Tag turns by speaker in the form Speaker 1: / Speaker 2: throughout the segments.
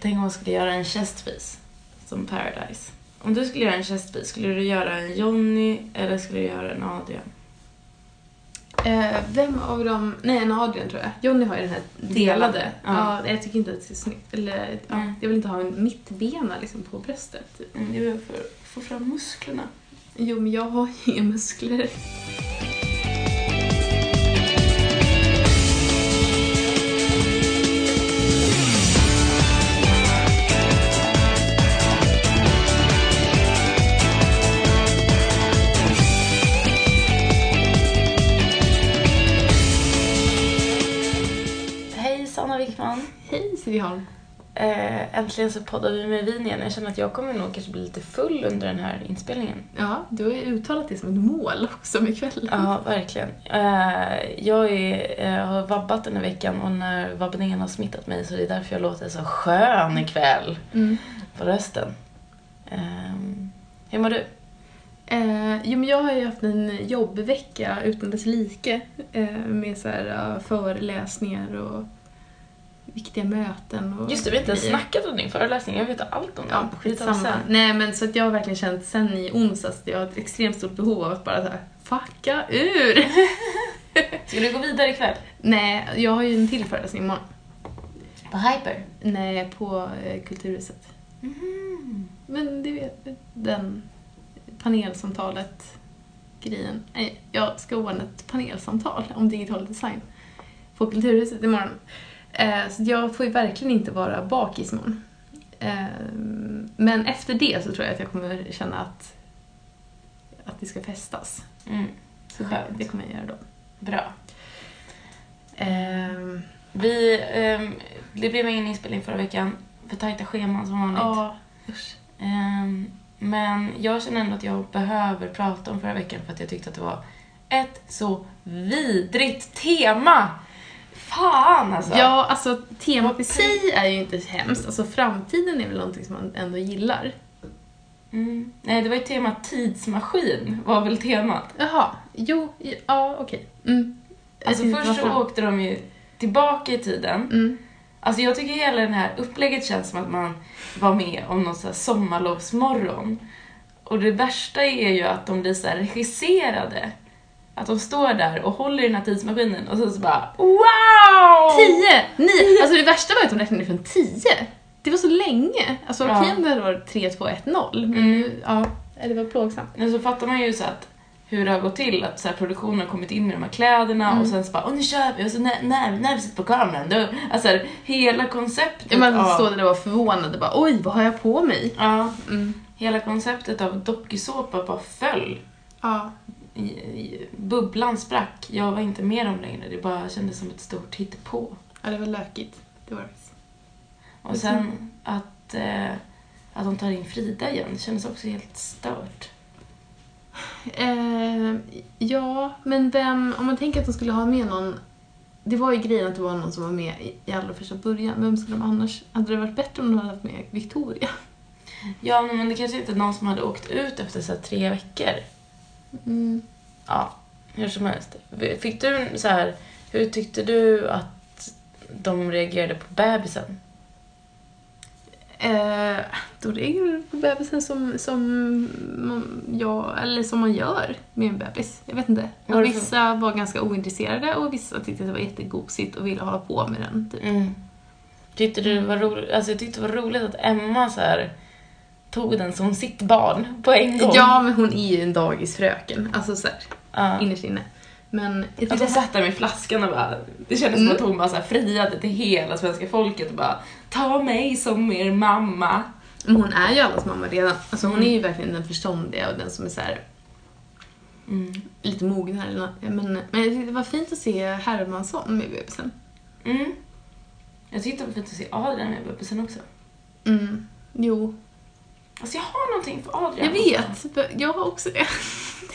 Speaker 1: Tänk om man skulle göra en chestpiece som Paradise. Om du skulle göra en chestpiece, skulle du göra en Johnny eller skulle du göra en Adrian?
Speaker 2: Eh, vem av dem, nej en Adrian tror jag. Johnny har ju den här delade.
Speaker 1: Delade,
Speaker 2: Ja.
Speaker 1: ja.
Speaker 2: jag tycker inte att det ser snyggt eller, ja,
Speaker 1: Nej.
Speaker 2: Jag vill inte ha en mittbena liksom på bröstet. Typ.
Speaker 1: Men det är väl för att få fram musklerna.
Speaker 2: Jo men jag har ju inga muskler.
Speaker 1: Hej Sanna Wickman!
Speaker 2: Hej Siv Holm.
Speaker 1: Eh, äntligen så poddar vi med vin igen. Jag känner att jag kommer nog kanske bli lite full under den här inspelningen.
Speaker 2: Ja, du har ju uttalat det som ett mål också med kvällen.
Speaker 1: Ja, verkligen. Eh, jag är, eh, har vabbat den här veckan och när vabbningen har smittat mig så är det därför jag låter så skön ikväll
Speaker 2: Mm.
Speaker 1: på rösten. Ehm, hur mår du?
Speaker 2: Eh, jo men jag har ju haft en jobbvecka utan dess like eh, med så här, ja, föreläsningar och viktiga möten och
Speaker 1: Just det, vi har inte ens
Speaker 2: grejer.
Speaker 1: snackat om din föreläsning. Jag vet allt om den.
Speaker 2: Ja,
Speaker 1: Vi tar det
Speaker 2: skitsamma.
Speaker 1: sen.
Speaker 2: Nej men så att jag har verkligen känt sen i onsdags, jag har ett extremt stort behov av att bara såhär, fucka ur!
Speaker 1: Ska du gå vidare ikväll?
Speaker 2: Nej, jag har ju en till föreläsning imorgon.
Speaker 1: På Hyper?
Speaker 2: Nej, på eh, Kulturhuset. Mm. Men det vet den panelsamtalet grejen. Nej, jag ska ordna ett panelsamtal om digital design på Kulturhuset imorgon. Eh, så jag får ju verkligen inte vara bakis imorgon. Eh, men efter det så tror jag att jag kommer känna att, att det ska festas.
Speaker 1: Mm.
Speaker 2: Så det,
Speaker 1: Skönt.
Speaker 2: det kommer jag göra då.
Speaker 1: Bra.
Speaker 2: Ehm,
Speaker 1: Vi, ehm, det blev ingen inspelning förra veckan. För tajta scheman som vanligt.
Speaker 2: ja, usch.
Speaker 1: Ehm, men jag känner ändå att jag behöver prata om förra veckan för att jag tyckte att det var ett så vidrigt tema. Fan alltså!
Speaker 2: Ja, alltså temat i sig är ju inte hemskt. Alltså framtiden är väl någonting som man ändå gillar.
Speaker 1: Mm. Nej, det var ju temat tidsmaskin var väl temat.
Speaker 2: Jaha, jo, j- ja okej. Mm.
Speaker 1: Alltså
Speaker 2: Jag vet inte
Speaker 1: först så
Speaker 2: varför.
Speaker 1: åkte de ju tillbaka i tiden.
Speaker 2: Mm.
Speaker 1: Alltså jag tycker hela det här upplägget känns som att man var med om någon sån här sommarlovsmorgon. Och det värsta är ju att de blir så här regisserade. Att de står där och håller i den här tidsmaskinen och sen så bara wow!
Speaker 2: Tio! Nio! Alltså det värsta var att de räknade från tio. Det var så länge. Alltså
Speaker 1: Ja.
Speaker 2: okej om det hade varit 3, 2, 1, 0. Men
Speaker 1: Mm.
Speaker 2: nu, ja, det var plågsamt.
Speaker 1: Men så fattar man ju så att hur det har gått till, att så här produktionen har kommit in med de här kläderna
Speaker 2: Mm.
Speaker 1: och sen så bara åh nu kör vi och så när, när, när vi sitter på kameran då, alltså här, hela konceptet
Speaker 2: Ja, men
Speaker 1: av,
Speaker 2: att stå där och vara förvånad och bara oj, vad har jag på mig?
Speaker 1: ja,
Speaker 2: Mm.
Speaker 1: hela konceptet av dokusåpa bara föll.
Speaker 2: Ja.
Speaker 1: I, i, bubblan sprack, jag var inte med dem längre, det bara kändes som ett stort hittepå.
Speaker 2: ja, det var lökigt. Det var det.
Speaker 1: Och sen att, eh, att de tar in Frida igen, det kändes också helt stört.
Speaker 2: Eh, ja, men vem, om man tänker att de skulle ha med någon det var ju grejen att det var någon som var med i- i allra första början. Vem skulle de annars... Hade det varit bättre om de hade haft med Victoria?
Speaker 1: Ja, men det kanske inte är någon som hade åkt ut efter så här, tre veckor.
Speaker 2: Mm.
Speaker 1: Ja, hur som helst. Fick du en så här, hur tyckte du att de reagerade på bebisen?
Speaker 2: Eh, då reagerar du på bebisen som, som man, ja, eller som man gör med en bebis. Jag vet inte.
Speaker 1: Vad är det för-
Speaker 2: vissa var ganska ointresserade och vissa tyckte att det var jättegosigt och ville hålla på med den. Typ.
Speaker 1: Mm. Tyckte du det var roligt, alltså jag tyckte det var roligt att Emma så här, tog den som sitt barn på en gång.
Speaker 2: Ja, men hon är ju en dagisfröken. Alltså såhär,
Speaker 1: Ja. Alltså
Speaker 2: innerst inne. Men jag tycker
Speaker 1: Att hon satt där med flaskan och bara, det kändes som att hon bara så här friade till hela svenska folket och bara Ta mig som er mamma.
Speaker 2: Men hon är ju allas mamma redan. Alltså hon är ju verkligen den förståndiga och den som är så här
Speaker 1: Mm.
Speaker 2: lite mognare. eller nå- Men, men jag tyckte det var fint att se Hermansson med bebisen.
Speaker 1: Mm. Jag tyckte det var fint att se Adrian med bebisen också.
Speaker 2: Mm. Jo,
Speaker 1: Alltså jag har någonting för Adrian.
Speaker 2: jag vet. Jag har också det.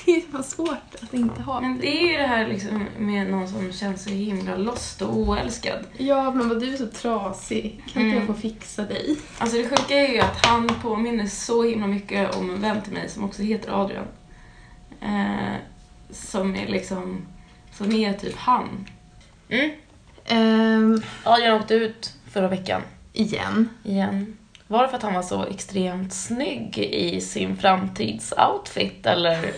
Speaker 2: Det var svårt att inte ha.
Speaker 1: Men det är ju det här liksom med någon som känns så himla lost och oälskad.
Speaker 2: Ja, men vad du är så trasig. Kan inte jag
Speaker 1: Mm.
Speaker 2: få fixa dig?
Speaker 1: Alltså det sjuka är ju att han påminner så himla mycket om en vän till mig som också heter Adrian. Eh, som är liksom, som är typ han. Mm.
Speaker 2: Ehm,
Speaker 1: Adrian åkte ut förra veckan.
Speaker 2: igen.
Speaker 1: igen. Var det för att han var så extremt snygg i sin framtidsoutfit eller?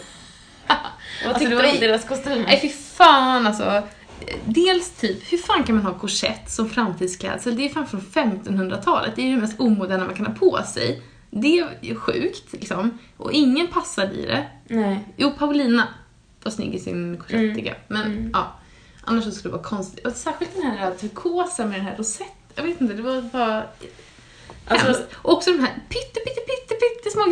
Speaker 1: Vad
Speaker 2: Alltså,
Speaker 1: tyckte
Speaker 2: det
Speaker 1: du
Speaker 2: var
Speaker 1: om
Speaker 2: i-
Speaker 1: deras kostymer?
Speaker 2: Nej fy fan alltså. Dels typ, hur fan kan man ha korsett som framtidsklädsel? Det är fan från 1500-talet, det är ju det mest omoderna man kan ha på sig. Det är ju sjukt liksom. Och ingen passade i det.
Speaker 1: Nej.
Speaker 2: Jo, Paulina var snygg i sin korsett
Speaker 1: Mm.
Speaker 2: tycker jag. Men
Speaker 1: Mm.
Speaker 2: ja, annars så skulle det vara konstigt. Och särskilt den här turkosa med den här rosett. Jag vet inte, det var bara
Speaker 1: Alltså,
Speaker 2: hemskt. Och också de här pytte, pytte, pytte, pytte små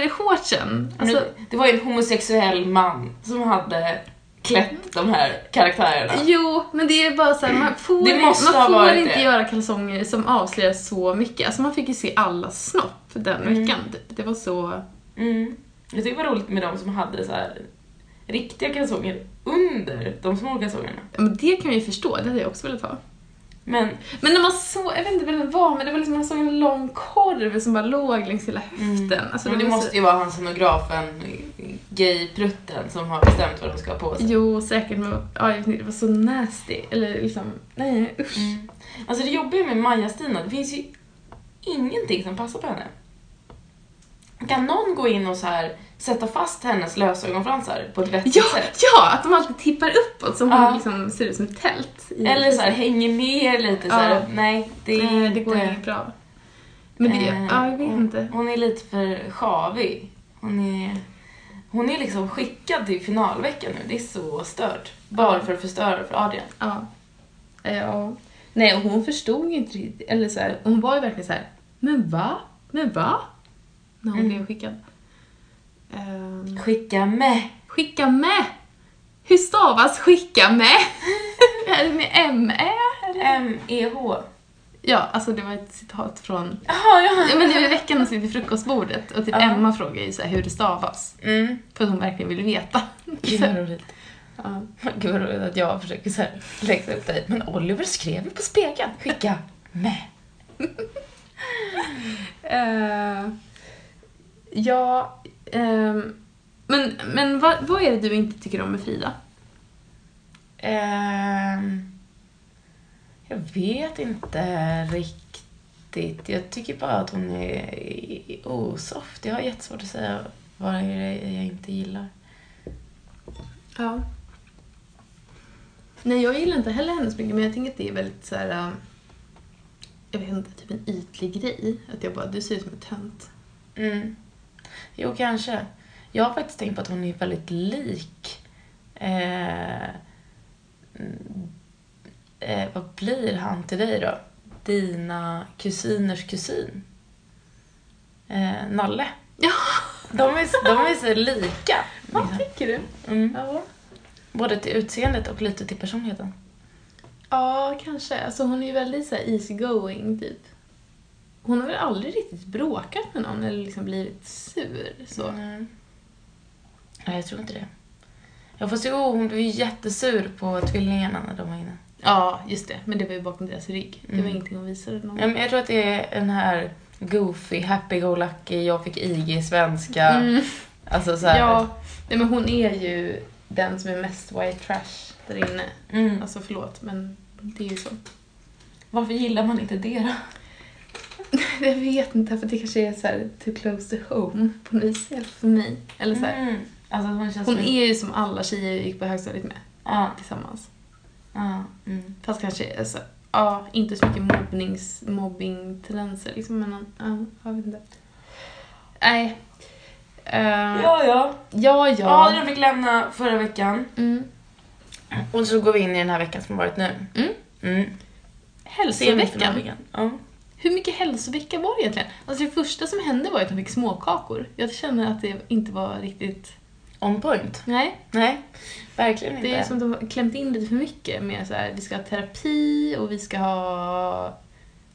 Speaker 2: glittershortsen. Alltså,
Speaker 1: nu, det var ju en homosexuell man som hade klätt de här karaktärerna.
Speaker 2: Jo, men det är bara såhär, man får,
Speaker 1: Det måste ha
Speaker 2: man får
Speaker 1: varit
Speaker 2: inte
Speaker 1: det.
Speaker 2: göra kalsonger som avslöjar så mycket. Alltså man fick ju se alla snopp den
Speaker 1: Mm.
Speaker 2: veckan. Det, det var så...
Speaker 1: Mm. Jag tyckte det var roligt med de som hade så här riktiga kalsonger under de små kalsongerna.
Speaker 2: Ja, Men det kan jag ju förstå, det hade jag också velat ha.
Speaker 1: Men
Speaker 2: Men när man såg, jag vet inte vem det var, men det var liksom, man såg en lång korv som bara låg längs hela höften. Alltså,
Speaker 1: Mm. men det
Speaker 2: var så-
Speaker 1: måste ju vara han scenografen, gay-prutten, som har bestämt vad de ska ha på sig.
Speaker 2: Jo, säkert, men ja, jag vet inte, det var så nasty. Eller liksom, nej usch.
Speaker 1: Mm. Alltså det jobbiga med Maja-Stina, det finns ju ingenting som passar på henne. Kan någon gå in och så här sätta fast hennes lösögonfransar på ett vettigt
Speaker 2: Ja,
Speaker 1: sätt?
Speaker 2: ja, att de alltid tippar uppåt som
Speaker 1: Ja.
Speaker 2: hon liksom ser ut som ett tält. i-
Speaker 1: Eller så här hänger ner lite så här.
Speaker 2: Ja.
Speaker 1: nej det är
Speaker 2: Nej,
Speaker 1: inte-
Speaker 2: det går inget bra. Men det,
Speaker 1: Eh,
Speaker 2: ja, jag vet
Speaker 1: hon,
Speaker 2: inte.
Speaker 1: Hon är lite för sjavig. Hon är, hon är liksom skickad till finalveckan nu, det är så stört. Bara för att förstöra för Adrian.
Speaker 2: Ja. Eh, ja. Nej, och hon förstod ju inte riktigt. Eller så här, hon var ju verkligen så här. men va? Men va? När hon
Speaker 1: Mm.
Speaker 2: blev skickad. Ehm,
Speaker 1: Skicka med!
Speaker 2: skicka med! Hur stavas skicka med? är det med ME? eller?
Speaker 1: M-E-H.
Speaker 2: Ja, alltså det var ett citat från...
Speaker 1: Jaha,
Speaker 2: Ja, men det var i veckan när vi vid frukostbordet och typ
Speaker 1: Ja.
Speaker 2: Emma frågade ju så här hur det stavas.
Speaker 1: Mm.
Speaker 2: För att hon verkligen ville veta.
Speaker 1: Gud vad roligt.
Speaker 2: Ja.
Speaker 1: Gud vad roligt att jag försöker så här läxa upp dig. Men Oliver skrev ju på spegeln. Skicka med.
Speaker 2: Eh, ja, ehm, men, men vad, vad är det du inte tycker om med Frida?
Speaker 1: Ehm, jag vet inte riktigt. Jag tycker bara att hon är osoft. Jag har jättesvårt att säga vad det är jag inte gillar.
Speaker 2: Ja. Nej, jag gillar inte heller henne så mycket, men jag tänker att det är väldigt så här. eh, jag vet inte, typ en ytlig grej. Att jag bara, du ser ut som en tönt.
Speaker 1: Mm. Jo, kanske. Jag har faktiskt tänkt på att hon är väldigt lik... Eh, mm, eh, vad blir han till dig då? Dina kusiners kusin. Eh, Nalle.
Speaker 2: Ja,
Speaker 1: De är, de är så lika. liksom.
Speaker 2: tycker du?
Speaker 1: Mm.
Speaker 2: Ja,
Speaker 1: Både till utseendet och lite till personligheten.
Speaker 2: ja kanske. Alltså hon är ju väldigt så här easy going typ. Hon har väl aldrig riktigt bråkat med någon eller liksom blivit sur så.
Speaker 1: Mm. Nej, jag tror inte det. Ja, fast jo, oh, hon blev ju jättesur på tvillingarna när de var inne.
Speaker 2: Ja, just det. Men det var ju bakom deras rygg. Det
Speaker 1: Mm.
Speaker 2: var ingenting hon visade någon.
Speaker 1: Ja, men jag tror att det är den här goofy, happy-go-lucky, jag fick IG i svenska.
Speaker 2: Mm,
Speaker 1: Alltså så här.
Speaker 2: ja. Nej, men hon är ju den som är mest white trash där inne.
Speaker 1: Mm.
Speaker 2: Alltså förlåt, men det är ju så.
Speaker 1: Varför gillar man inte det då?
Speaker 2: Jag vet inte, för det kanske är så här too close to home på något vis. Eller för mig. Eller så här.
Speaker 1: Mm. Alltså hon känns
Speaker 2: Hon
Speaker 1: som-
Speaker 2: är ju som alla tjejer jag gick på högstadiet med
Speaker 1: Ja,
Speaker 2: tillsammans.
Speaker 1: ja. Mm.
Speaker 2: Fast kanske, alltså, ja, inte så mycket mobbnings, mobbing-tendenser liksom, men ja, jag vet inte. Nej. Eh,
Speaker 1: Ja, ja.
Speaker 2: ja, ja.
Speaker 1: Adrian fick lämna förra veckan.
Speaker 2: Mm.
Speaker 1: Och så går vi in i den här veckan som har varit nu.
Speaker 2: Mm.
Speaker 1: Mm.
Speaker 2: Hälsoveckan.
Speaker 1: Ja.
Speaker 2: Hur mycket hälsovecka var det egentligen? Alltså det första som hände var ju att de fick småkakor. Jag känner att det inte var riktigt...
Speaker 1: On point.
Speaker 2: Nej,
Speaker 1: Nej, verkligen inte.
Speaker 2: det är som att de har klämt in lite för mycket med så här, vi ska ha terapi och vi ska ha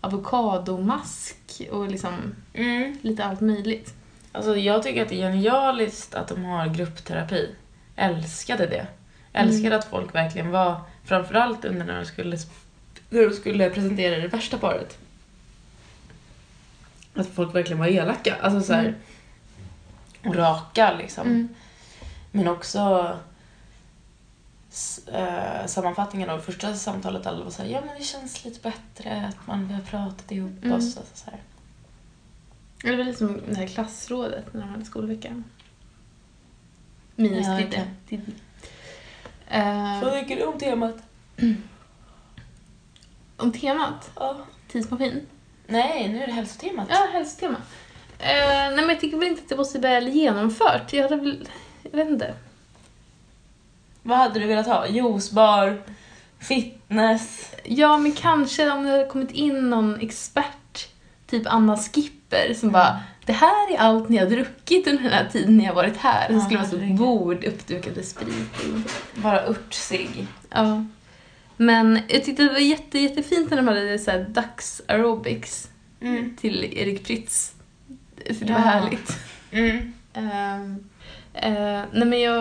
Speaker 2: avokadomask och liksom
Speaker 1: mm.
Speaker 2: lite allt möjligt.
Speaker 1: alltså, jag tycker att det är genialiskt att de har gruppterapi. Älskade det.
Speaker 2: Mm.
Speaker 1: Älskade att folk verkligen var, framförallt under när de skulle, när de skulle presentera det värsta paret. Att folk verkligen var elaka. Alltså så här,
Speaker 2: Mm.
Speaker 1: och raka liksom.
Speaker 2: Mm.
Speaker 1: Men också s- eh, sammanfattningen av första samtalet alla var så här, ja men det känns lite bättre att man vi har pratat ihop
Speaker 2: Mm.
Speaker 1: oss. Alltså, så här.
Speaker 2: Det var lite som det här klassrådet när de hade skolveckan. Minus
Speaker 1: Ja,
Speaker 2: Didde.
Speaker 1: verkligen.
Speaker 2: Didde. Eh,
Speaker 1: Vad tycker du om temat?
Speaker 2: om temat,
Speaker 1: Ja.
Speaker 2: tidsmaskin.
Speaker 1: Nej, nu är det hälsotemat.
Speaker 2: Ja, hälsotema. Eh, nej men jag tycker väl inte att det var så väl genomfört. Jag hade väl, jag vet inte.
Speaker 1: Vad hade du velat ha? Juicebar? Fitness?
Speaker 2: Ja, men kanske om det hade kommit in någon expert, typ Anna Skipper, som bara
Speaker 1: Mm.
Speaker 2: Det här är allt ni har druckit under den här tiden ni har varit här. Det
Speaker 1: Ja,
Speaker 2: skulle vara så ett
Speaker 1: herregud.
Speaker 2: bord uppdukat med sprit. eller något.
Speaker 1: Bara örtsig.
Speaker 2: Ja. Men jag tyckte det var jätte, jättefint när de hade så här dags aerobics till Erik Prytz. För det var
Speaker 1: Mm. Ja.
Speaker 2: härligt.
Speaker 1: Mm.
Speaker 2: Ehm, eh, nej men jag...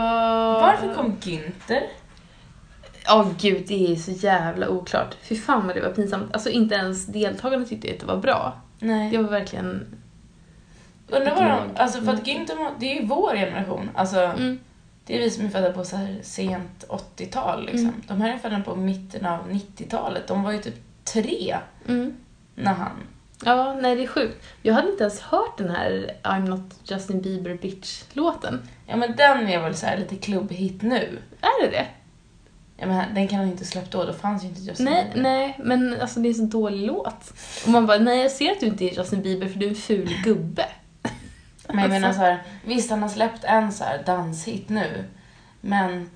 Speaker 1: Varför kom Günther?
Speaker 2: Ja, gud, det är så jävla oklart. Fy fan vad det var pinsamt. Alltså inte ens deltagarna tyckte att det var bra.
Speaker 1: Nej.
Speaker 2: Det var verkligen...
Speaker 1: Undrar vad de...
Speaker 2: Jag-
Speaker 1: Alltså för att Günther, var- det är ju vår generation. Alltså,
Speaker 2: Mm.
Speaker 1: det är vi som är födda på så här sent 80-tal liksom.
Speaker 2: Mm.
Speaker 1: De här är födda på mitten av 90-talet. De var ju typ tre
Speaker 2: Mm.
Speaker 1: när han...
Speaker 2: Ja, nej det är sjukt. Jag hade inte ens hört den här I'm not Justin Bieber bitch-låten.
Speaker 1: Ja men den är väl så här lite klubbhit nu.
Speaker 2: Är det det?
Speaker 1: Ja, men den kan han ju inte släppt då, då fanns ju inte Justin
Speaker 2: Nej,
Speaker 1: Bieber.
Speaker 2: nej, men alltså det är en så dålig låt. Och man bara, nej jag ser att du inte är Justin Bieber för du är en ful gubbe.
Speaker 1: Men jag menar
Speaker 2: Alltså.
Speaker 1: så här, visst han har släppt en så här danshit nu, men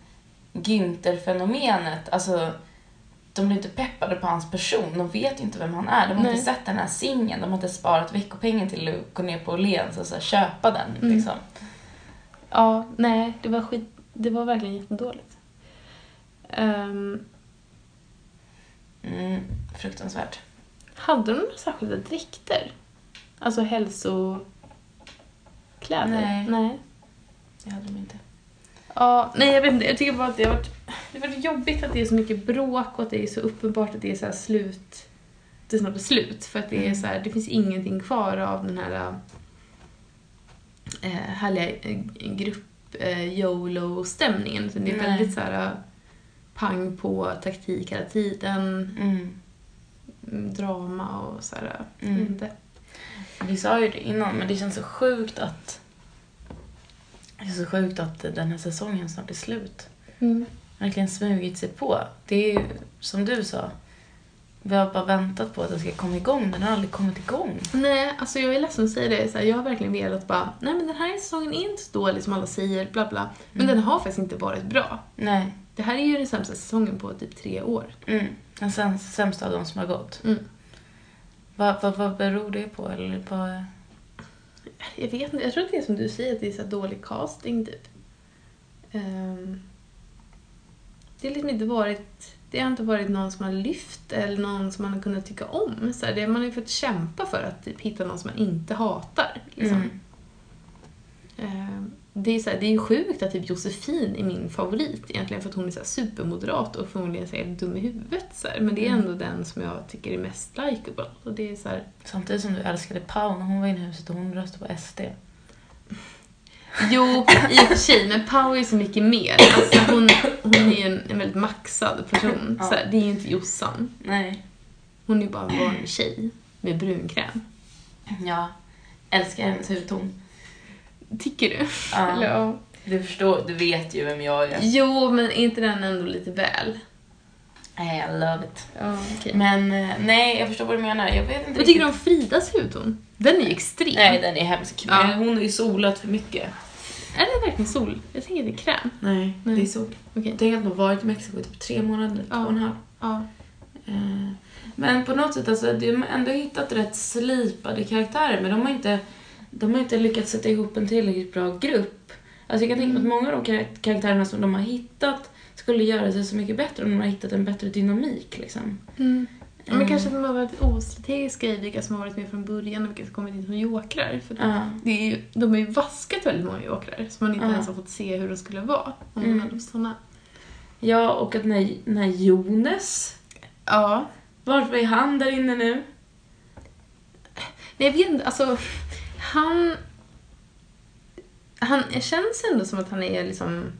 Speaker 1: Günther-fenomenet, alltså de blir inte peppade på hans person, de vet ju inte vem han är. De har
Speaker 2: Nej.
Speaker 1: inte sett den här singeln, de har inte sparat veckopengen till att gå ner på Åhléns och så här, köpa den.
Speaker 2: Mm.
Speaker 1: Liksom.
Speaker 2: Ja, nej, det var skit, det var verkligen jättedåligt. Ehm,
Speaker 1: Mm, fruktansvärt.
Speaker 2: hade de några särskilda dräkter? Alltså hälsokläder?
Speaker 1: Nej.
Speaker 2: nej.
Speaker 1: Det hade de inte.
Speaker 2: Ja, nej jag vet inte. Jag tycker bara att det har varit, det har varit jobbigt att det är så mycket bråk och att det är så uppenbart att det är så här slut. Det är snart slut för att det
Speaker 1: Mm.
Speaker 2: är så här, det finns ingenting kvar av den här eh, härliga eh, grupp eh, YOLO-stämningen. Så det är
Speaker 1: Nej.
Speaker 2: väldigt så här eh, pang på taktik hela tiden,
Speaker 1: Mm.
Speaker 2: mm, drama och så här. eh,
Speaker 1: Mm.
Speaker 2: Inte.
Speaker 1: Vi sa ju det innan, men det känns så sjukt att det är så sjukt att den här säsongen snart är slut.
Speaker 2: Mm.
Speaker 1: verkligen smugit sig på. Det är ju som du sa. Vi har bara väntat på att den ska komma igång. Den har aldrig kommit igång.
Speaker 2: Nej, alltså jag är ledsen att säga det. Så här, jag har verkligen velat bara, nej men den här säsongen är inte så dålig som alla säger, bla bla. Men
Speaker 1: Mm.
Speaker 2: den har faktiskt inte varit bra.
Speaker 1: Nej.
Speaker 2: Det här är ju den sämsta säsongen på typ tre år.
Speaker 1: Mm. Den säm- sämsta av de som har gått.
Speaker 2: Mm.
Speaker 1: Vad vad vad beror det på? Eller vad...
Speaker 2: Jag vet inte, jag tror att det är som du säger, att det är så här dålig casting typ. Ehm, det har liksom inte varit, det har inte varit någon som har lyft eller någon som man har kunnat tycka om. Så här, det, man har ju fått kämpa för att typ, hitta någon som man inte hatar. Liksom.
Speaker 1: Mm.
Speaker 2: Eh, Det är, så här, det är ju sjukt att typ Josefin är min favorit egentligen för att hon är så här supermoderat och förmodligen så här helt dum i huvudet. Så här. Men det är
Speaker 1: Mm.
Speaker 2: ändå den som jag tycker är mest likeable. Och det är så här,
Speaker 1: Samtidigt som du älskade Pau när hon var inne i huset och hon röstade på SD.
Speaker 2: jo, i och för sig, men Pau är så mycket mer. Alltså, hon, hon är ju en, en väldigt maxad person. Så här, det är ju inte Jossan.
Speaker 1: Nej.
Speaker 2: Hon är ju bara en vanlig tjej med brunkräm.
Speaker 1: Ja. Älskar hennes hudton.
Speaker 2: Tycker du?
Speaker 1: Ja.
Speaker 2: Eller, ja.
Speaker 1: Du förstår, du vet ju vem jag är.
Speaker 2: Jo, men är inte den ändå lite väl?
Speaker 1: Nej, I love it.
Speaker 2: Ja, okej.
Speaker 1: Men eh, nej, jag förstår vad du menar. Jag vet inte
Speaker 2: Vad tycker du om Fridas hudton? Den är ju extrem.
Speaker 1: Nej, den är hemsk.
Speaker 2: Ja.
Speaker 1: Men Hon har ju solat för mycket.
Speaker 2: Är det verkligen sol? Jag tänker att det är kräm.
Speaker 1: Nej,
Speaker 2: Nej.
Speaker 1: det är sol.
Speaker 2: Okej.
Speaker 1: Jag tänker att de har varit i Mexiko i typ tre månader,
Speaker 2: Ja.
Speaker 1: två och en halv.
Speaker 2: Ja.
Speaker 1: Eh, Men på något sätt, alltså, de har ändå hittat rätt slipade karaktärer men de har inte, de har inte lyckats sätta ihop en tillräckligt bra grupp. Alltså jag kan tänka mig att många av de karak- karaktärerna som de har hittat skulle göra sig så mycket bättre om de har hittat en bättre dynamik liksom.
Speaker 2: Mm. Ja,
Speaker 1: Mm.
Speaker 2: Men kanske att de har varit ostrategiska i vilka som har varit med från början och vilka som kommit in som jokrar. För
Speaker 1: Ja.
Speaker 2: det är ju, de har ju vaskat väldigt många jokrar som man inte
Speaker 1: Ja.
Speaker 2: ens har fått se hur de skulle vara om
Speaker 1: Mm.
Speaker 2: de hade sådana.
Speaker 1: Ja, och att den här, den här Jonas,
Speaker 2: Ja.
Speaker 1: varför är han där inne nu?
Speaker 2: Nej, jag vet inte, alltså han... Han det känns ändå som att han är liksom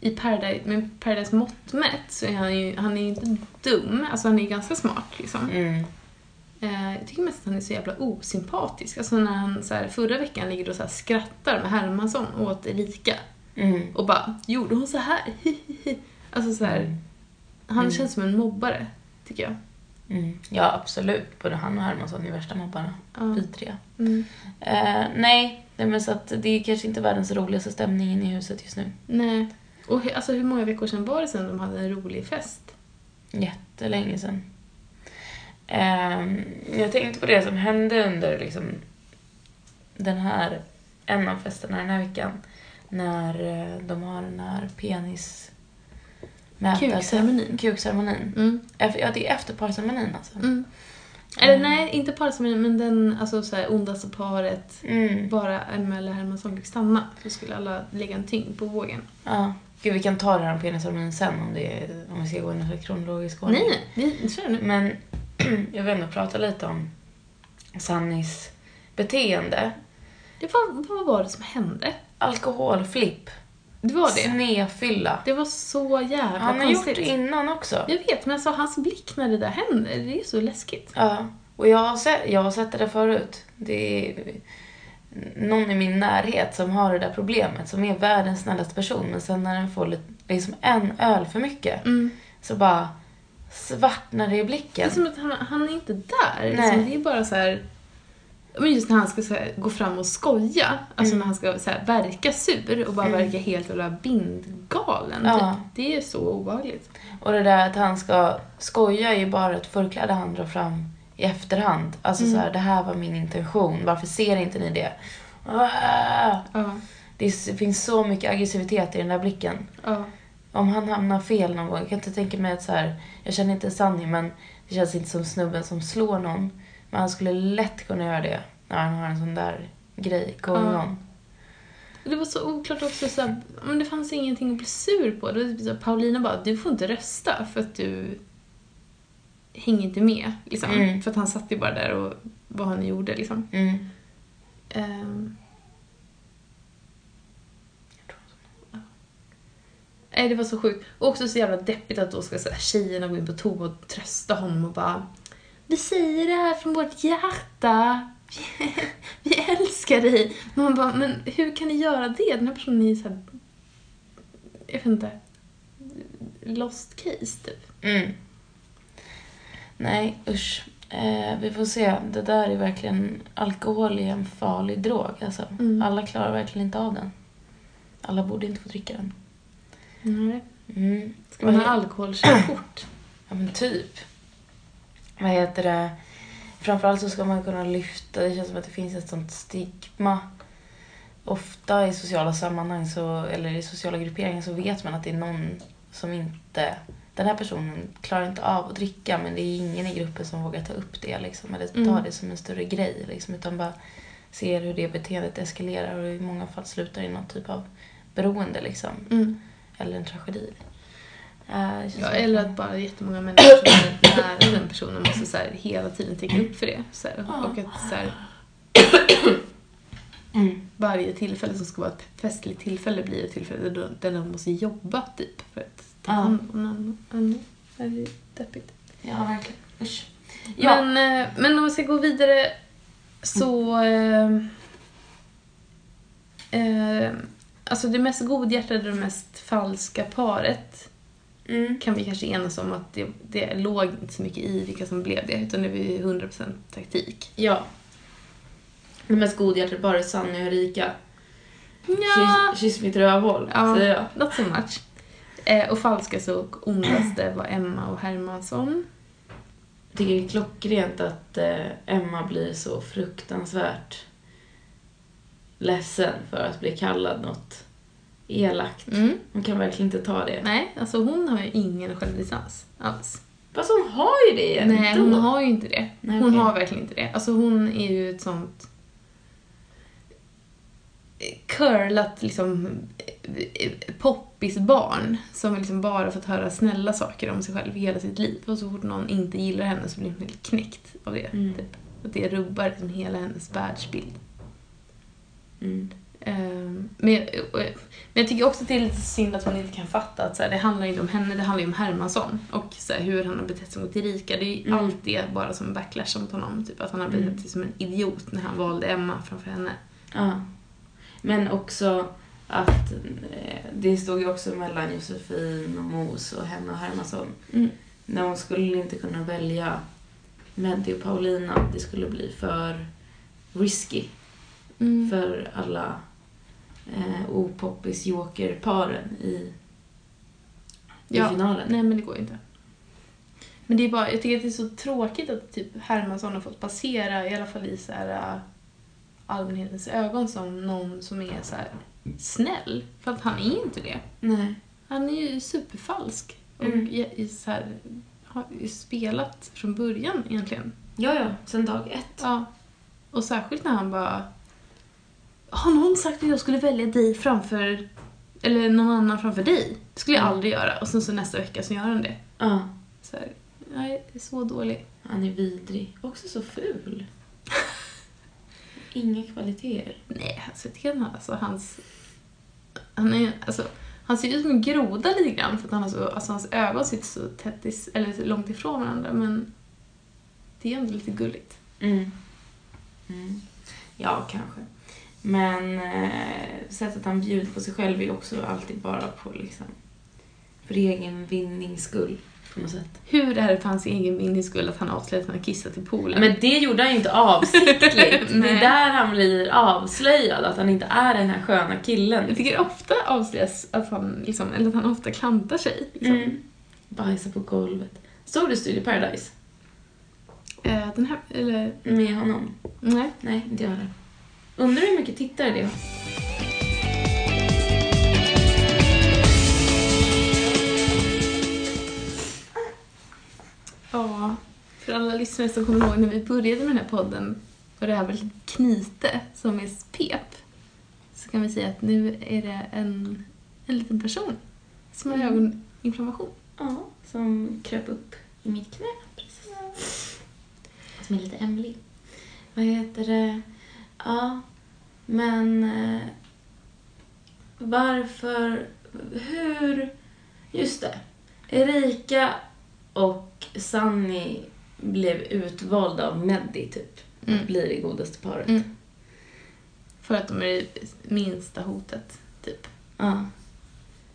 Speaker 2: i Paradise, med Paradise mått mätt så är han ju, han är ju inte dum, alltså han är ju ganska smart liksom.
Speaker 1: Mm.
Speaker 2: Eh, jag tycker mest att han är så jävla osympatisk. Alltså när han så här, förra veckan ligger och så här, skrattar med Hermansson åt Erika
Speaker 1: Mm.
Speaker 2: och bara “gjorde hon så här?” Alltså så här, han
Speaker 1: Mm.
Speaker 2: känns som en mobbare, tycker jag.
Speaker 1: Mm. Ja, absolut. Både han och Hermansson är värsta mobbarna.
Speaker 2: Ja.
Speaker 1: Vi tre.
Speaker 2: Mm.
Speaker 1: Eh, nej, nej, men så att det är kanske inte världens roligaste stämningen i huset just nu.
Speaker 2: Nej. Och hur, alltså, hur många veckor sedan var det sedan de hade en rolig fest?
Speaker 1: Jättelänge sedan. Ehm, jag tänkte på det som hände under liksom, den här, en av festerna den här veckan. När eh, de har den här penis...
Speaker 2: Kukceremonin.
Speaker 1: Kukceremonin.
Speaker 2: Mm.
Speaker 1: Eff- Ja, det är efterparceremonin alltså.
Speaker 2: Mm. Eller
Speaker 1: Mm.
Speaker 2: nej, inte parceremonin, men den alltså, så här, ondaste paret.
Speaker 1: Mm.
Speaker 2: Bara Emmele Hermansson fick stanna, så skulle alla lägga en tyngd på vågen.
Speaker 1: Ja. Gud, vi kan ta det här om penisceremonin sen om, det är, om vi ska gå in för kronologisk ordning.
Speaker 2: Nej, nej, vi kör nu.
Speaker 1: Men jag vill ändå prata lite om Sannis beteende.
Speaker 2: Det var, vad var det som hände?
Speaker 1: Alkoholflipp.
Speaker 2: Det var det.
Speaker 1: Snefylla.
Speaker 2: Det var så jävla
Speaker 1: Han har gjort
Speaker 2: konstigt.
Speaker 1: det innan också.
Speaker 2: Jag vet, men alltså hans blick när det där händer, det är ju så läskigt.
Speaker 1: Ja. Och jag har, sett, jag har sett det där förut. Det är någon i min närhet som har det där problemet, som är världens snällaste person, men sen när den får lite, liksom en öl för mycket så bara svartnar det i
Speaker 2: Det
Speaker 1: blicken.
Speaker 2: är som att han, han är inte där.
Speaker 1: Nej.
Speaker 2: Liksom, det är bara så här... Men just när han ska så här, gå fram och skoja, alltså
Speaker 1: Mm.
Speaker 2: när han ska så här, verka sur och bara
Speaker 1: Mm.
Speaker 2: verka helt jävla bindgalen.
Speaker 1: Ja.
Speaker 2: Typ. Det är så obehagligt.
Speaker 1: Och det där att han ska skoja är ju bara ett förkläde han drar fram i efterhand. Alltså
Speaker 2: Mm.
Speaker 1: så här, det här var min intention, varför ser inte ni det? Ah!
Speaker 2: Ja,
Speaker 1: Det s- finns så mycket aggressivitet i den där blicken.
Speaker 2: ja.
Speaker 1: Om han hamnar fel någon gång, jag kan inte tänka mig att så här, jag känner inte Sanni men det känns inte som snubben som slår någon. Men han skulle lätt kunna göra det när han har en sån där grej going
Speaker 2: Ja.
Speaker 1: on.
Speaker 2: Och Det var så oklart också, så här, men det fanns ingenting att bli sur på. Det var typ så här, Paulina bara, du får inte rösta för att du hänger inte med. Liksom.
Speaker 1: Mm.
Speaker 2: För att han satt ju bara där och vad han gjorde. Liksom.
Speaker 1: Mm.
Speaker 2: Ehm. Nej, det var så sjukt. Och också så jävla deppigt att då ska så här, tjejerna gå in på toa och trösta honom och bara Vi säger det här från vårt hjärta. Vi, vi älskar dig. Men man bara, men hur kan ni göra det? Den här personen är ju så här, jag vet inte, lost case typ.
Speaker 1: Mm. Nej, usch. Eh, vi får se. Det där är verkligen... Alkohol är en farlig drog. Alltså.
Speaker 2: Mm.
Speaker 1: Alla klarar verkligen inte av den. Alla borde inte få dricka den.
Speaker 2: Nej.
Speaker 1: Mm.
Speaker 2: Ska man ha alkoholkörkort?
Speaker 1: Ja, men typ. Vad heter det? Framförallt så ska man kunna lyfta. Det känns som att det finns ett sånt stigma. Ofta i sociala sammanhang så, eller i sociala grupperingar så vet man att det är någon som inte... Den här personen klarar inte av att dricka men det är ingen i gruppen som vågar ta upp det liksom, eller ta
Speaker 2: Mm.
Speaker 1: det som en större grej. Liksom, utan bara ser hur det beteendet eskalerar och i många fall slutar i någon typ av beroende liksom,
Speaker 2: Mm.
Speaker 1: eller en tragedi. Eh, det känns
Speaker 2: Ja,
Speaker 1: som att
Speaker 2: eller
Speaker 1: man-
Speaker 2: att bara jättemånga människor som är nära den personen måste så här, hela tiden täcka upp för det. Så här, och att så här,
Speaker 1: Mm.
Speaker 2: varje tillfälle som ska vara ett festligt tillfälle blir ett tillfälle där de- där de måste jobba typ för att ta
Speaker 1: Ja.
Speaker 2: hand om någon annan. Det är deppigt.
Speaker 1: Ja, verkligen. Usch. Ja.
Speaker 2: Men, eh, men om vi ska gå vidare så... Eh, eh, alltså det mest godhjärtade och det mest falska paret
Speaker 1: Mm.
Speaker 2: kan vi kanske enas om att det, det låg inte så mycket i vilka som blev det, utan det var ju 100% taktik.
Speaker 1: ja. Det mest godhjärtade bara är Sanny och Erika. Kyss, kyss mitt rövhål,
Speaker 2: Ja.
Speaker 1: säger jag.
Speaker 2: Not so much. Eh, och falskaste och ondaste var Emma och Hermansson.
Speaker 1: Jag tycker det är klockrent att eh, Emma blir så fruktansvärt ledsen för att bli kallad något elakt.
Speaker 2: Mm.
Speaker 1: Hon kan verkligen inte ta det.
Speaker 2: Nej, alltså hon har ju ingen självdistans alls.
Speaker 1: Fast hon har ju det ändå.
Speaker 2: Nej, hon har ju inte det.
Speaker 1: Nej,
Speaker 2: Hon
Speaker 1: okej.
Speaker 2: har verkligen inte det. Alltså hon är ju ett sånt eh, curlat liksom eh, eh, poppisbarn som liksom bara fått höra snälla saker om sig själv hela sitt liv och så fort någon inte gillar henne så blir hon helt knäckt av det.
Speaker 1: Mm.
Speaker 2: Typ. Att det rubbar liksom hela hennes världsbild.
Speaker 1: Mm.
Speaker 2: Ehm, Men jag, och- men jag tycker också att det är lite synd att man inte kan fatta att så här, det handlar inte om henne, det handlar ju om Hermansson. Och så här, hur han har betett sig mot Erika. Det är ju
Speaker 1: Mm.
Speaker 2: allt det bara som en backlash mot honom. Typ att han har betett sig som en idiot när han valde Emma framför henne.
Speaker 1: Ja. Men också att eh, det stod ju också mellan Josefin och Mos och henne och Hermansson. När hon skulle inte kunna välja Meddi och Paulina. Det skulle bli för risky
Speaker 2: Mm.
Speaker 1: för alla eh, opoppis joker-paren i, i
Speaker 2: Ja.
Speaker 1: finalen.
Speaker 2: Nej men det går ju inte. Men det är bara, jag tycker att det är så tråkigt att typ Hermansson har fått passera, i alla fall i så här, äh, allmänhetens ögon, som någon som är så här snäll. För att han är inte det.
Speaker 1: Nej.
Speaker 2: Han är ju superfalsk. Och
Speaker 1: Mm.
Speaker 2: är, är så här, har ju spelat från början egentligen.
Speaker 1: Ja, ja. Sen dag ett.
Speaker 2: Ja. Och särskilt när han bara... Har någon sagt att jag skulle välja dig framför... Eller någon annan framför dig? Det skulle jag
Speaker 1: Mm.
Speaker 2: aldrig göra. Och sen så nästa vecka så gör han det.
Speaker 1: Ja.
Speaker 2: Så här, nej, det är så dålig.
Speaker 1: Han är vidrig. Också så ful. Inga kvaliteter.
Speaker 2: Nej, alltså jag tycker han har- alltså hans... Han är alltså... Han ser ut som en groda lite grann för att han har så, alltså hans ögon sitter så tätt is, eller så långt ifrån varandra men det är ändå lite gulligt.
Speaker 1: Mm. Mm. Ja, kanske. Men eh, sättet han bjuder på sig själv är också alltid bara på liksom för egen vinnings skull på något sätt.
Speaker 2: Hur är det för hans egen vinnings skull att han avslöjar att han har kissat i poolen?
Speaker 1: Men det gjorde han ju inte avsiktligt. det
Speaker 2: Nej.
Speaker 1: är där han blir avslöjad, att han inte är den här sköna killen.
Speaker 2: jag tycker ofta avslöjas att han, liksom, eller att han ofta klantar sig. Liksom.
Speaker 1: Mm. Bajsar på golvet. Såg du Studio Paradise?
Speaker 2: Eh, den här, eller,
Speaker 1: Med honom?
Speaker 2: nej.
Speaker 1: Nej, inte jag heller. Undrar hur mycket tittare det har.
Speaker 2: Ja, för alla lyssnare som kommer ihåg när vi började med den här podden och det här var ett litet knyte som är pep så kan vi säga att nu är det en, en liten person som har
Speaker 1: Mm.
Speaker 2: ögoninflammation.
Speaker 1: Ja, som kröp upp i mitt knä. Precis. Som är lite Emily. Vad heter det? Ja, men eh, varför, hur, just det. Erika och Sunny blev utvalda av Meddi typ.
Speaker 2: Mm.
Speaker 1: Blir det godaste paret.
Speaker 2: Mm. För att de är det minsta hotet, typ.
Speaker 1: Ja.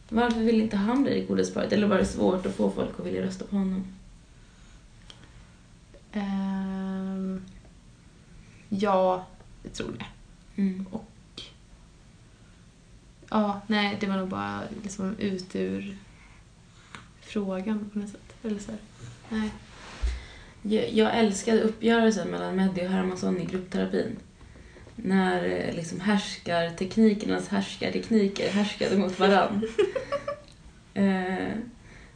Speaker 1: Varför vill inte han bli det godaste paret? Eller var det svårt att få folk att vilja rösta på honom?
Speaker 2: Ehm, ja, jag tror det.
Speaker 1: Mm.
Speaker 2: Ja, nej, det var nog bara liksom ut ur frågan på något sätt. Eller så här. Nej.
Speaker 1: Jag, jag älskade uppgörelsen mellan Meddi och Hermansson i gruppterapin. När eh, liksom härskarteknikernas härskartekniker härskade mot varann. eh,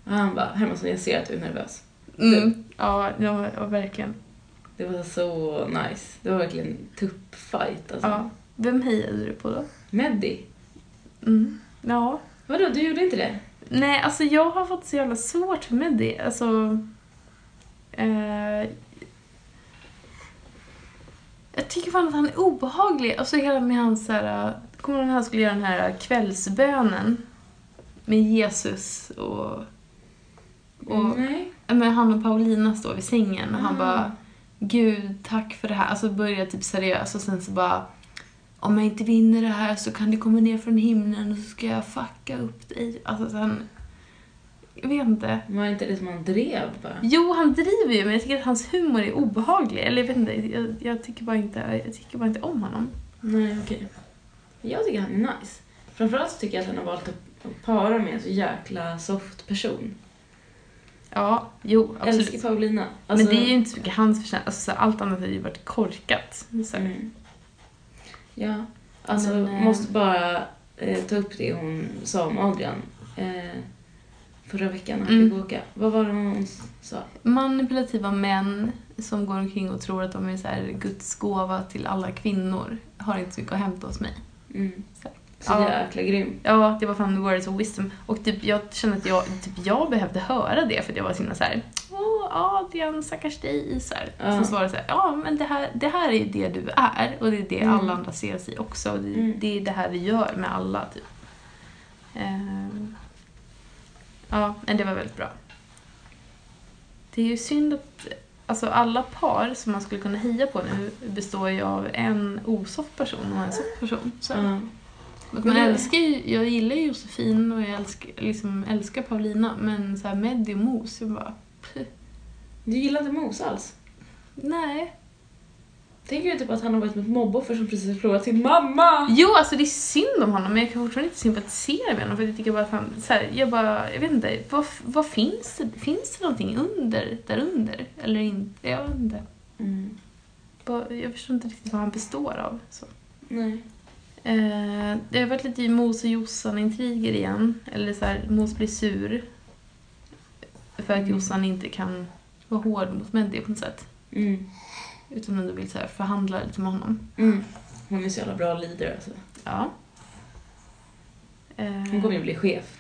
Speaker 1: och han bara, Hermansson jag ser att du är nervös.
Speaker 2: Mm. Ja, ja, ja, verkligen.
Speaker 1: Det var så nice. Det var verkligen en tuppfight alltså.
Speaker 2: Ja. Vem hejade du på då?
Speaker 1: Meddi?
Speaker 2: Mm. Ja.
Speaker 1: Vadå, du gjorde inte det?
Speaker 2: Nej, alltså jag har fått så jävla svårt med det. Alltså... Eh, jag tycker fan att han är obehaglig. Alltså hela med hans så här... eh, Kommer du ihåg när han skulle göra den här eh, kvällsbönen? Med Jesus och... och
Speaker 1: Nej.
Speaker 2: ja, men han och Paulina står vid sängen och han
Speaker 1: Mm.
Speaker 2: bara Gud, tack för det här. Alltså börjar typ seriöst och sen så bara Om jag inte vinner det här så kan du komma ner från himlen och så ska jag fucka upp dig. Alltså sen Jag vet inte.
Speaker 1: Ah. Var inte det som han drev bara?
Speaker 2: Jo, han driver ju men jag tycker att hans humor är obehaglig. Eller jag vet inte, jag, jag, tycker, bara inte, jag tycker bara inte om honom.
Speaker 1: Nej, okej. Jag tycker han är nice. Framförallt så tycker jag att han har valt att att para med en så jäkla soft person.
Speaker 2: Ja, jo, absolut. Alltså-
Speaker 1: Älskar Paulina. Alltså,
Speaker 2: Men det är ju inte så mycket hans förtjänst. Alltså, så här, allt annat har ju varit korkat. Så. här.
Speaker 1: Mm. Ja, alltså
Speaker 2: Men, eh,
Speaker 1: måste bara eh, ta upp det hon sa om Adrian eh, förra veckan när han
Speaker 2: Mm.
Speaker 1: fick åka. Vad var det hon s- sa?
Speaker 2: Manipulativa män som går omkring och tror att de är så här Guds gåva till alla kvinnor har inte så mycket att hämta hos mig.
Speaker 1: Mm.
Speaker 2: Så.
Speaker 1: Så
Speaker 2: Ja.
Speaker 1: jäkla grym.
Speaker 2: Ja, det var fan words of wisdom. Och typ, jag kände att jag, typ, jag behövde höra det för att jag var så himla så här. Åh, Adrian, stackars dig, så här,
Speaker 1: Ja.
Speaker 2: som svarar så här, ja men det här, det här är ju det du är och det är det
Speaker 1: Mm.
Speaker 2: alla andra ser sig också och det,
Speaker 1: Mm.
Speaker 2: det är det här vi gör med alla typ. Ehm, ja, men det var väldigt bra. Det är ju synd att alltså alla par som man skulle kunna heja på nu består ju av en osoft person och en soft person. Så.
Speaker 1: Ja.
Speaker 2: Man
Speaker 1: Men det-
Speaker 2: älskar ju, jag gillar ju Josefin och jag älskar, liksom, älskar Paulina men så här Meddi och Mos, jag bara
Speaker 1: Du gillar inte Mos alls?
Speaker 2: nej.
Speaker 1: Tänker du typ att han har varit med ett mobboffer som precis har förlorat sin mamma?
Speaker 2: Jo alltså det är synd om honom men jag kan fortfarande inte sympatisera med honom för jag tycker bara att han, så här, jag bara, jag vet inte, vad, vad finns det, finns det någonting under, där under? Eller inte, jag vet inte.
Speaker 1: Mm.
Speaker 2: Bara- Jag förstår inte riktigt vad han består av. Så.
Speaker 1: Nej.
Speaker 2: Eh, det har varit lite Mos och Jossan-intriger igen. Eller så här, Mos blir sur. För att
Speaker 1: Mm.
Speaker 2: Jossan inte kan vara hård mot Meddi på något sätt.
Speaker 1: Mm.
Speaker 2: Utan ändå vill så här, förhandla lite med honom.
Speaker 1: Mm. Hon är så jävla bra leader alltså.
Speaker 2: Ja. Eh,
Speaker 1: Hon kommer ju bli chef.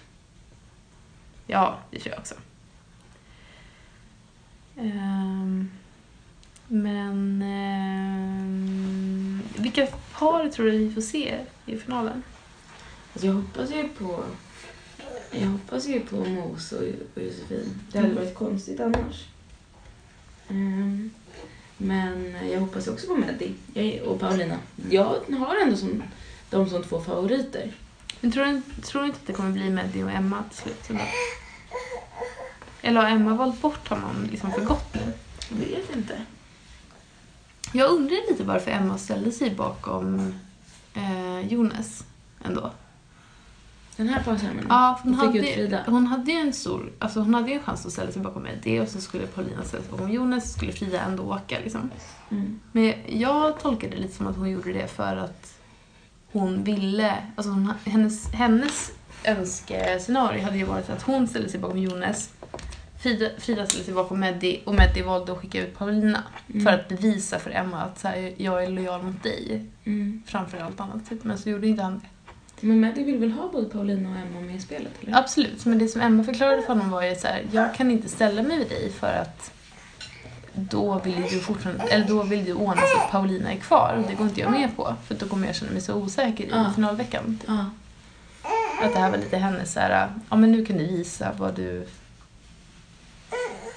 Speaker 2: Ja, det tror jag också. Ehm, men... ehm, vilka par tror du vi får se i finalen?
Speaker 1: Alltså jag hoppas ju på... Jag hoppas ju på Mos och, och Josefin. Det hade varit konstigt annars. Ehm, men jag hoppas ju också på Meddi Jag- och Paulina.
Speaker 2: Mm.
Speaker 1: Jag har ändå som, de som två favoriter.
Speaker 2: Men tror du, tror du inte att det kommer bli Meddi och Emma till slut? Eller, eller har Emma valt bort honom liksom för gott nu?
Speaker 1: Jag vet inte.
Speaker 2: Jag undrar lite varför Emma ställde sig bakom eh, Jonas ändå.
Speaker 1: Den här farsämnen.
Speaker 2: Ja, för hon,
Speaker 1: Hon fick
Speaker 2: hade,
Speaker 1: ut Frida.
Speaker 2: hon hade ju en stor, alltså hon hade ju en chans att ställa sig bakom Meddi och så skulle Paulina ställa sig bakom Jonas så skulle Frida ändå åka liksom.
Speaker 1: Mm.
Speaker 2: Men jag tolkade det lite som att hon gjorde det för att hon ville, alltså hon, hennes, hennes önskescenario hade ju varit att hon ställde sig bakom Jonas, Frida, Frida ställde sig bakom Meddi och Meddi valde att skicka ut Paulina
Speaker 1: Mm.
Speaker 2: för att bevisa för Emma att så här, jag är lojal mot dig
Speaker 1: Mm.
Speaker 2: framför allt annat. Typ. Men så gjorde inte han det.
Speaker 1: Men Maddie vill väl ha både Paulina och Emma med i spelet? Eller?
Speaker 2: Absolut, men det som Emma förklarade för honom var ju så här, jag kan inte ställa mig vid dig för att då vill ju du fortfarande, eller då vill du ordna så att Paulina är kvar och det går inte jag med på för då kommer jag känna mig så osäker i
Speaker 1: Ja.
Speaker 2: finalveckan. Typ.
Speaker 1: Ja.
Speaker 2: Att det här var lite hennes så här, ja men nu kan du visa vad du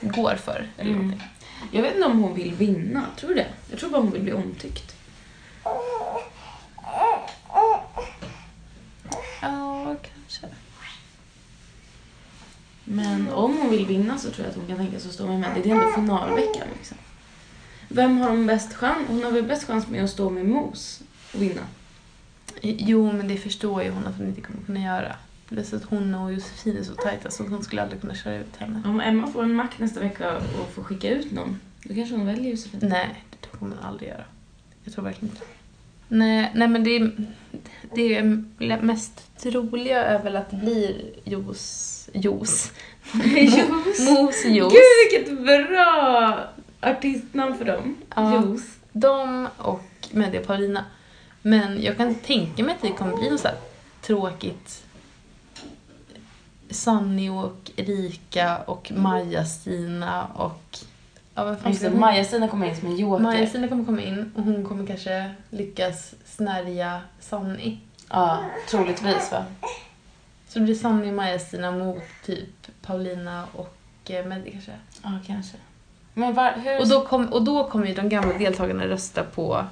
Speaker 2: går för eller
Speaker 1: Mm.
Speaker 2: någonting.
Speaker 1: Jag vet inte om hon vill vinna, tror du det? Jag tror bara hon vill bli omtyckt.
Speaker 2: Ja, kanske.
Speaker 1: Men om hon vill vinna så tror jag att hon kan tänka sig att stå med Maddie. Det är ändå finalveckan liksom. Vem har hon bäst chans? Hon har väl bäst chans med att stå med Mos och vinna?
Speaker 2: Jo, men det förstår ju hon att hon inte kommer kunna göra. Plus att hon och Josefin är så tajta så hon skulle aldrig kunna köra ut henne.
Speaker 1: Om Emma får en makt nästa vecka och får skicka ut någon, då kanske hon väljer Josefin.
Speaker 2: Nej, det tror man aldrig göra. Jag tror verkligen inte Nej, nej men det, det är mest troliga är väl att det blir juice, juice,
Speaker 1: Jos!
Speaker 2: mos, juice.
Speaker 1: Gud vilket bra artistnamn för dem!
Speaker 2: Ja.
Speaker 1: Jos.
Speaker 2: De och Medie och Paulina. Men jag kan tänka mig att det kommer bli något så här tråkigt Sanni och Erika och Maja-Stina och... Ja, vad fan
Speaker 1: Just det,
Speaker 2: ska hon-
Speaker 1: Maja-Stina kommer in som en joker.
Speaker 2: Maja-Stina kommer komma in och hon kommer kanske lyckas snärja Sanni.
Speaker 1: Ja, troligtvis va?
Speaker 2: Så det blir Sanni och Maja-Stina mot typ Paulina och eh, Meddi kanske.
Speaker 1: Ja, kanske. Men var, hur...
Speaker 2: Och då, kom, och då kommer ju de gamla deltagarna rösta på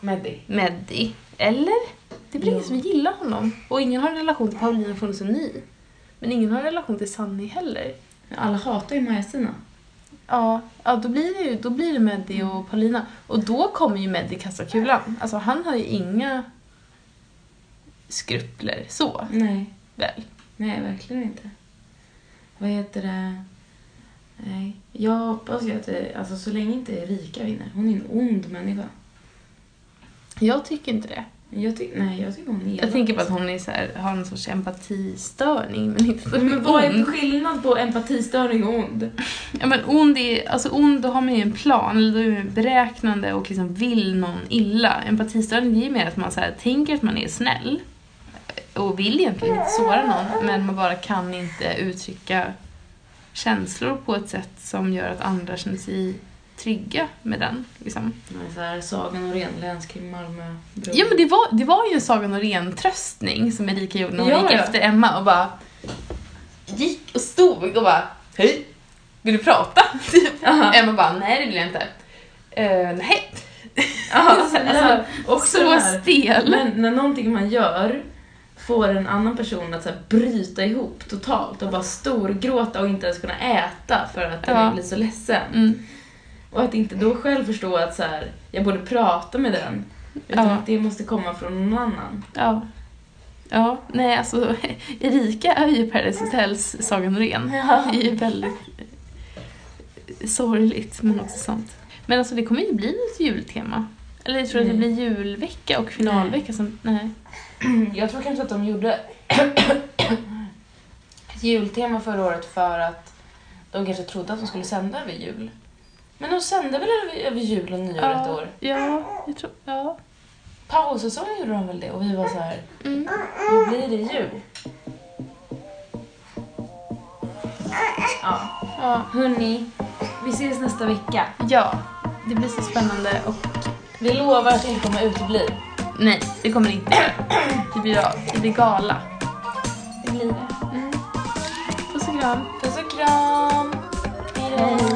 Speaker 1: Meddi.
Speaker 2: Meddi. Eller? Det blir ingen
Speaker 1: Ja.
Speaker 2: som gillar honom. Och ingen har en relation till Paulina för hon är så ny. Men ingen har en relation till Sanni heller.
Speaker 1: Alla hatar ju Maja-Stina.
Speaker 2: Ja, ja då blir det ju då blir det Meddi och Paulina. Och då kommer ju Meddi kasta kulan. Alltså han har ju inga skrupler så,
Speaker 1: Nej,
Speaker 2: väl?
Speaker 1: nej verkligen inte. Vad heter det? Nej. Jag hoppas ju att det, alltså så länge inte Erika vinner. Hon är en ond människa.
Speaker 2: Jag tycker inte det.
Speaker 1: Jag tycker, nej jag tycker hon är
Speaker 2: Jag tänker på att hon är så här, har en sorts empatistörning men inte så
Speaker 1: Nej, Men vad är
Speaker 2: ond.
Speaker 1: skillnad på empatistörning och ond?
Speaker 2: Ja, men ond, är, alltså ond, då har man ju en plan, eller då är man beräknande och liksom vill någon illa. Empatistörning det är ju mer att man så här, tänker att man är snäll och vill egentligen inte såra någon men man bara kan inte uttrycka känslor på ett sätt som gör att andra känner sig trygga med den. Liksom.
Speaker 1: Men så här, Sagan och renläns kring Malmö. bro.
Speaker 2: Ja men det var, det var ju en Saga Norén tröstning som Erika gjorde när hon
Speaker 1: Ja,
Speaker 2: gick
Speaker 1: ja.
Speaker 2: efter Emma och bara gick och stod och bara Hej! Vill du prata? Typ.
Speaker 1: Aha.
Speaker 2: Emma bara nej det vill jag inte. Eh, nej.
Speaker 1: Ja,
Speaker 2: Så-
Speaker 1: alltså, också
Speaker 2: så
Speaker 1: den här-
Speaker 2: stel.
Speaker 1: Men när någonting man gör får en annan person att så här, bryta ihop totalt och bara storgråta och inte ens kunna äta för att
Speaker 2: Ja.
Speaker 1: den blir så ledsen.
Speaker 2: Mm.
Speaker 1: Och att inte då själv förstå att så här, jag borde prata med den. Utan
Speaker 2: Ja.
Speaker 1: att det måste komma från någon annan.
Speaker 2: Ja. Ja, nej alltså Erika är ju Paradise Hotels Saga Norén.
Speaker 1: Ja.
Speaker 2: Det är ju väldigt eh, sorgligt men också sant. Men alltså det kommer ju bli ett jultema. Eller jag tror att det
Speaker 1: Mm. Nej.
Speaker 2: blir julvecka och finalvecka som, nej.
Speaker 1: Jag tror kanske att de gjorde ett jultema förra året för att de kanske trodde att de skulle sända över jul. Men de sände väl över, över jul och nyår ett år?
Speaker 2: Ja, jag tror, ja.
Speaker 1: Paussäsong gjorde de väl det och vi var så här,
Speaker 2: Mm.
Speaker 1: nu blir det jul. Ja.
Speaker 2: ja.
Speaker 1: Hörni, vi ses nästa vecka.
Speaker 2: Ja, det blir så spännande och
Speaker 1: Vi lovar att inte kommer utebli.
Speaker 2: nej, det kommer det inte. Det blir, det blir gala. Mm.
Speaker 1: Det blir det.
Speaker 2: Puss och kram.
Speaker 1: Puss och kram! Hej då!